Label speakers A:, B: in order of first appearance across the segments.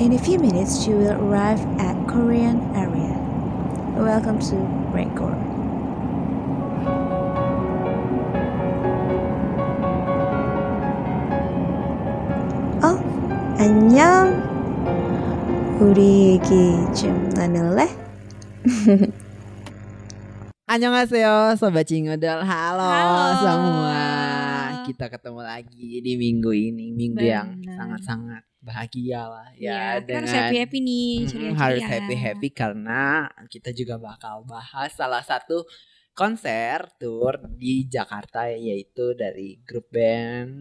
A: In a few minutes, you will arrive at Korean area. Welcome to Record. 어, 안녕. 우리 얘기 좀 나눌래?
B: Annyeonghaseyo Sobat Cingodol Halo,
C: Halo.
B: semua Kita ketemu lagi di minggu ini Minggu yang
C: Benar.
B: sangat-sangat bahagia lah
C: Iya,
B: ya,
C: kita harus happy happy nih ya.
B: Mm,
C: ceria-ceria.
B: Harus happy-happy karena kita juga bakal bahas salah satu konser tour di Jakarta Yaitu dari grup band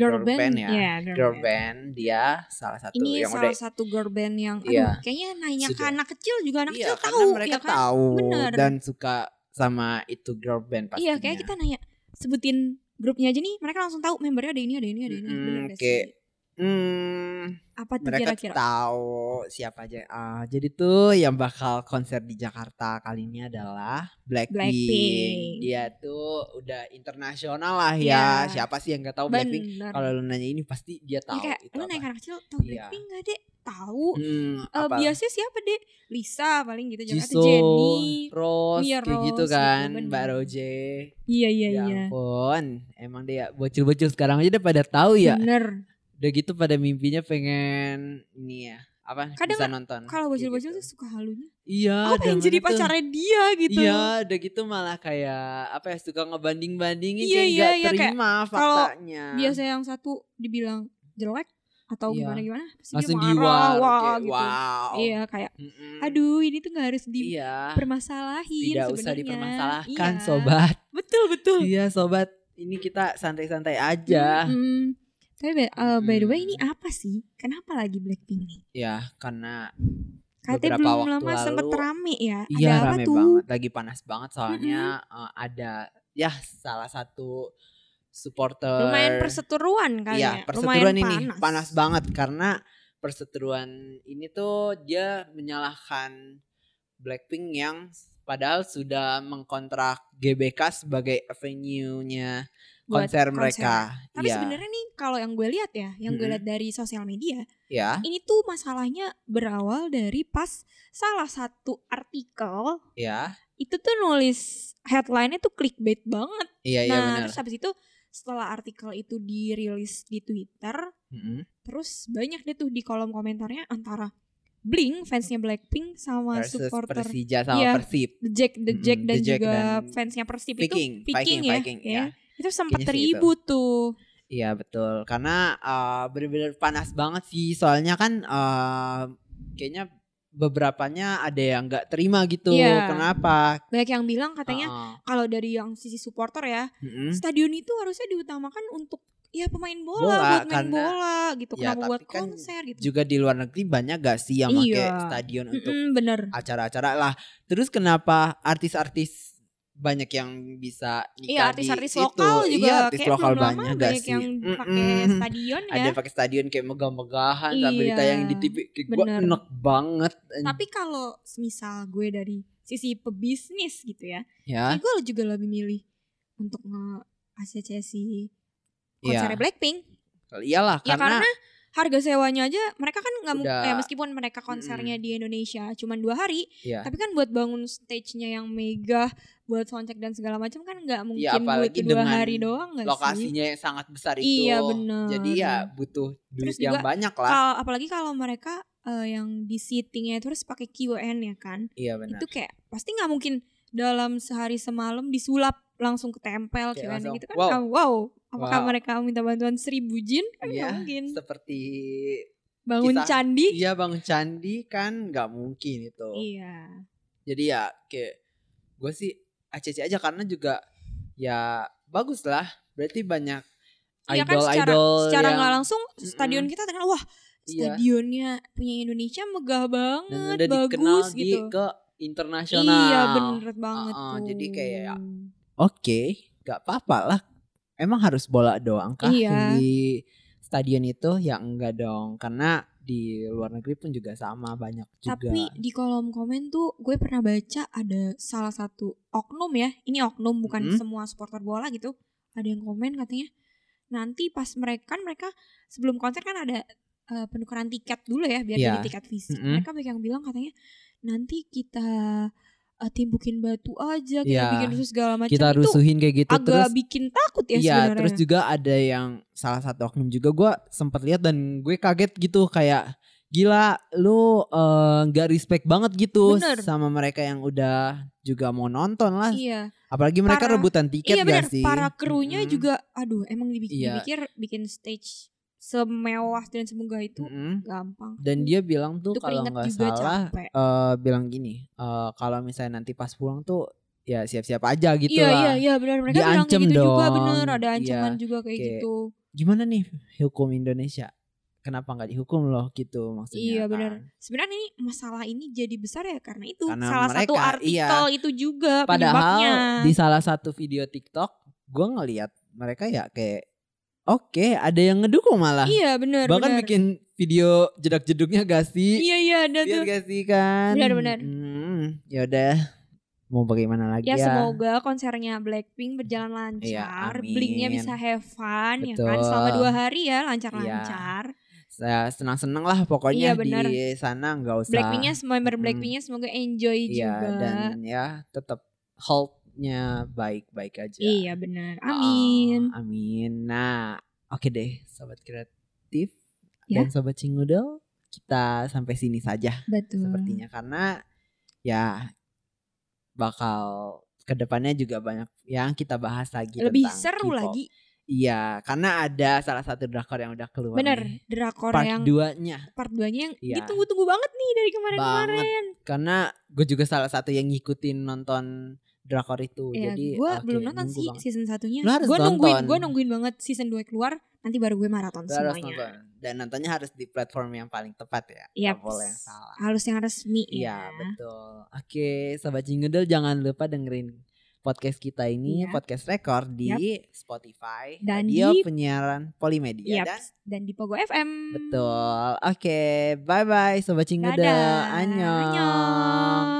C: girl, band,
B: ya
C: iya, girl,
B: Girl
C: band.
B: band dia salah satu
C: Ini
B: yang
C: salah
B: udah
C: satu girl band yang aduh,
B: Iya.
C: kayaknya nanya ke
B: Sudah.
C: anak kecil juga anak
B: Iya
C: kecil
B: karena
C: tahu
B: mereka
C: ya kan?
B: tahu
C: Bener.
B: dan suka sama itu girl band pastinya
C: Iya, kayak kita nanya sebutin grupnya aja nih, mereka langsung tahu membernya ada ini, ada ini, ada ini.
B: Mm-mm,
C: Bener gak
B: kayak-
C: Iya, sih?
B: Hmm,
C: Apa tuh
B: mereka
C: kira-kira?
B: tahu siapa aja. Ah, jadi tuh yang bakal konser di Jakarta kali ini adalah Blackpink.
C: Blackpink.
B: Dia tuh udah internasional lah
C: Ya.
B: ya. Siapa sih yang gak tahu Blackpink?
C: Bener.
B: Kalau lu nanya ini pasti dia
C: Ya,
B: tahu
C: kayak
B: itu.
C: lu
B: apa.
C: naik anak kecil tahu
B: Iya.
C: Blackpink gak, Dek? Tahu.
B: Hmm,
C: Eh,
B: apa?
C: biasanya siapa, Dek? Lisa paling gitu juga atau
B: Jisoo,
C: Jennie.
B: Rose,
C: Iya,
B: kayak gitu
C: Rose, gitu,
B: kan,
C: bener.
B: Mbak Roje.
C: Iya, iya,
B: ya
C: iya.
B: ampun, emang dia bocil-bocil sekarang aja udah pada tahu ya.
C: Bener.
B: Udah gitu pada mimpinya pengen ini ya, apa
C: Kadang
B: bisa nonton.
C: Kalau
B: kayak
C: bocil-bocil
B: gitu.
C: tuh suka halunya.
B: Iya,
C: Aku pengen
B: jangan
C: jadi
B: itu.
C: pacarnya dia gitu.
B: Iya, udah gitu malah kayak apa ya suka ngebanding-bandingin
C: Iya,
B: kayak
C: iya,
B: nggak
C: iya, kayak
B: terima
C: kalau
B: faktanya.
C: biasanya yang satu dibilang jelek atau
B: Iya.
C: gimana gimana pasti
B: langsung
C: dia marah
B: diwar
C: wah
B: kayak,
C: gitu
B: Wow.
C: iya kayak
B: Mm-mm.
C: aduh ini tuh nggak harus
B: Iya.
C: dipermasalahin
B: Tidak
C: sebenarnya
B: usah dipermasalahkan,
C: Iya.
B: sobat.
C: betul betul
B: Iya, sobat. Ini kita santai-santai aja.
C: Mm-mm. hmm. tapi by- uh, by the way
B: Mm.
C: ini apa sih kenapa lagi Blackpink nih
B: Ya, karena
C: katanya
B: Beberapa
C: belum
B: waktu
C: lama sempet
B: lalu,
C: rame ya
B: iya
C: ada apa
B: rame
C: tuh
B: banget, lagi panas banget soalnya eh, ada ya salah satu supporter
C: lumayan perseteruan kali
B: Iya,
C: ya
B: perseteruan
C: lumayan
B: ini
C: panas,
B: panas. banget karena perseteruan ini tuh dia menyalahkan Blackpink yang padahal sudah mengkontrak GBK sebagai venue-nya
C: buat
B: konser mereka.
C: tapi
B: Iya,
C: sebenarnya nih kalau yang gue lihat ya yang gue
B: Mm-mm.
C: lihat dari sosial media
B: ya.
C: ini tuh masalahnya berawal dari pas salah satu artikel
B: Ya.
C: itu tuh nulis headline-nya tuh clickbait banget.
B: Iya, iya
C: nah,
B: benar.
C: terus habis itu setelah artikel itu dirilis di Twitter,
B: Mm-mm.
C: terus banyak deh tuh di kolom komentarnya antara Blink fansnya Blackpink sama
B: Versus
C: supporter
B: Persija sama
C: Iya.
B: Persib.
C: The Jack The
B: Mm-mm,
C: Jack dan
B: The Jack
C: juga
B: dan
C: fansnya Persib itu
B: Viking,
C: Viking,
B: Viking,
C: ya,
B: Viking,
C: ya.
B: ya.
C: Itu sempat
B: Kayaknya sih itu.
C: ribut tuh.
B: Iya betul karena eh, bener-bener panas banget sih soalnya kan eh, kayaknya beberapanya ada yang nggak terima gitu
C: Iya.
B: kenapa
C: Banyak yang bilang katanya
B: Heeh.
C: kalau dari yang sisi supporter ya,
B: Mm-mm.
C: stadion itu harusnya diutamakan untuk ya pemain bola,
B: Hmm. Bola,
C: buat main
B: karena-
C: bola gitu
B: Ya,
C: kenapa
B: tapi
C: buat
B: kan
C: konser gitu
B: juga di luar negeri banyak gak sih yang pakai
C: Iya.
B: stadion untuk
C: Mm-mm, bener
B: acara-acara lah terus kenapa artis-artis banyak yang bisa
C: iya
B: nikah di
C: artis-artis
B: situ?
C: lokal juga
B: iya, artis
C: kayak
B: lokal
C: belum lama
B: banyak gak
C: banyak
B: sih
C: yang pakai
B: Mm-mm.
C: stadion ya
B: ada kan pakai stadion kayak megah-megahan sampai
C: Iya,
B: ditayangin di TV kayak gue
C: bener.
B: enak banget ya.
C: tapi kalau misal gue dari sisi pebisnis gitu ya
B: ya
C: kayak gue juga lebih milih untuk nge asosiasi
B: iya.
C: konser Blackpink
B: Iyalah
C: ya
B: karena,
C: karena harga sewanya aja mereka kan nggak mu-
B: Udah.
C: ya meskipun mereka konsernya di Indonesia cuman dua hari
B: ya.
C: Tapi kan buat bangun stage-nya yang megah, buat soundcheck dan segala macam kan nggak mungkin
B: Iya, apalagi
C: buat dua
B: dengan
C: hari doang nggak sih?
B: lokasinya yang sangat besar itu.
C: Iya, bener.
B: Jadi ya butuh duit
C: Terus
B: yang
C: juga
B: banyak lah.
C: Kalau apalagi kalau mereka eh, yang di seatingnya itu harus pakai QN ya kan?
B: Iya benar.
C: Itu kayak pasti nggak mungkin dalam sehari semalam disulap langsung
B: Kayak
C: ketempel QN -nya
B: langsung,
C: gitu kan?
B: wow.
C: Ah, wow. Apakah
B: Wow.
C: mereka minta bantuan seribu jin? Kan nggak
B: Iya,
C: mungkin.
B: Seperti
C: Bangun
B: Kisah-
C: candi?
B: iya Bang Candi kan nggak mungkin itu.
C: Iya.
B: Jadi ya kayak gue sih ACC aja karena juga ya bagus lah. Berarti banyak
C: Iya kan
B: idol-idol
C: secara secara
B: yang
C: nggak langsung stadion kita dengan wah
B: Iya.
C: stadionnya punya Indonesia megah
B: dan
C: banget,
B: udah dikenal
C: bagus
B: di
C: gitu.
B: ke internasional.
C: Iya bener banget
B: Heeh,
C: tuh.
B: jadi kayak Oke, nggak apa-apa lah. Emang harus bola doang kah
C: Iya.
B: yang di stadion itu? Ya enggak dong, karena di luar negeri pun juga sama banyak juga.
C: Tapi di kolom komen tuh gue pernah baca ada salah satu oknum ya. Ini oknum bukan
B: Mhm.
C: semua supporter bola gitu. Ada yang komen katanya nanti pas mereka kan mereka sebelum konser kan ada eh, penukaran tiket dulu ya biar
B: Iya.
C: jadi tiket fisik.
B: Mm-mm.
C: Mereka banyak yang bilang katanya nanti kita eh, timbukin batu aja, kita
B: Iya.
C: bikin rusuh segala macam.
B: kita
C: Itu
B: rusuhin kayak gitu terus
C: agak bikin takut ya
B: Iya,
C: sebenarnya.
B: terus juga ada yang salah satu oknum juga gue sempet lihat dan gue kaget gitu kayak gila lu eh, nggak respect banget gitu
C: Bener.
B: sama mereka yang udah juga mau nonton lah.
C: Iya,
B: Apalagi mereka
C: Para-
B: rebutan tiket
C: iya
B: gak
C: benar.
B: sih?
C: Para krunya
B: Mm-mm.
C: juga, aduh, emang dibikin,
B: Iya.
C: dipikir bikin stage semewah dan semoga itu
B: Mm-mm.
C: gampang.
B: Hmm. Dan dia bilang tuh
C: Itu
B: kalau
C: keringat
B: nggak
C: juga
B: salah
C: capek.
B: eh, bilang gini, eh, kalau misalnya nanti pas pulang tuh ya siap-siap aja gitu
C: iya,
B: lah.
C: iya, iya, benar. Mereka bilang
B: Diancem
C: kayak gitu juga,
B: dong.
C: bener. Ada ancaman
B: Iya,
C: juga kayak
B: kayak-
C: gitu.
B: Gimana nih hukum Indonesia? Kenapa nggak dihukum loh gitu maksudnya?
C: Iya, benar.
B: kan.
C: Sebenarnya ini masalah ini jadi besar ya karena itu
B: Karena
C: salah satu
B: mereka, iya.
C: artikel itu juga
B: Padahal
C: penyebabnya.
B: di salah satu video TikTok gue ngeliat mereka ya kayak oke ada yang ngedukung malah.
C: Iya, benar,
B: Bahkan
C: benar.
B: bikin video jedak-jeduknya gak sih?
C: Iya, iya, ada
B: Lihat
C: tuh.
B: gak sih kan?
C: Benar-benar.
B: Hmm, ya udah mau bagaimana lagi
C: Ya,
B: ya?
C: semoga konsernya Blackpink berjalan
B: Iya,
C: lancar,
B: amin.
C: blinknya bisa have fun ya kan
B: Betul. Iya.
C: selama dua hari ya lancar-lancar.
B: Saya senang-senang lah pokoknya
C: Iya, benar.
B: di sana nggak usah.
C: Blackpinknya member
B: Mm-mm.
C: Blackpinknya semoga enjoy
B: Iya
C: juga.
B: dan ya tetap health-nya baik-baik aja.
C: Iya benar,
B: Oh,
C: amin.
B: amin. Nah, oke deh, sobat kreatif
C: Ya.
B: dan sobat cingudel, kita sampai sini saja
C: Betul.
B: sepertinya karena ya bakal kedepannya juga banyak yang kita bahas lagi
C: Lebih
B: gitu tentang
C: seru
B: K-pop.
C: lagi,
B: Iya, karena ada salah satu drakor yang udah keluar. nih.
C: bener. Drakor
B: Part
C: yang
B: 2-nya.
C: part 2-nya yang
B: Iya.
C: ditunggu-tunggu banget nih dari kemarin-kemarin.
B: Karena gue juga salah satu yang ngikutin nonton drakor itu.
C: Ya,
B: Jadi
C: gue
B: oke,
C: belum nonton
B: nunggu
C: sih
B: banget.
C: season satunya.
B: Lu harus
C: Gue nungguin,
B: nonton.
C: gue nungguin banget season 2 keluar. Nanti baru gue maraton
B: Lu harus
C: semuanya.
B: nonton. Dan nontonnya harus di platform yang paling tepat ya.
C: Iya,
B: Gak boleh yang salah.
C: harus yang resmi
B: Iya
C: ya.
B: betul. Oke sobat Jingudel jangan lupa dengerin podcast kita ini
C: Iya.
B: podcast rekor di Spotify
C: Dan
B: radio
C: di- Iya,
B: penyiaran Polimedia Iya,
C: Yap,
B: dan
C: dan di Pogo FM.
B: betul. Oke bye bye sobat Jingudel.
C: Dadah.
B: Annyeong.
C: Annyeong.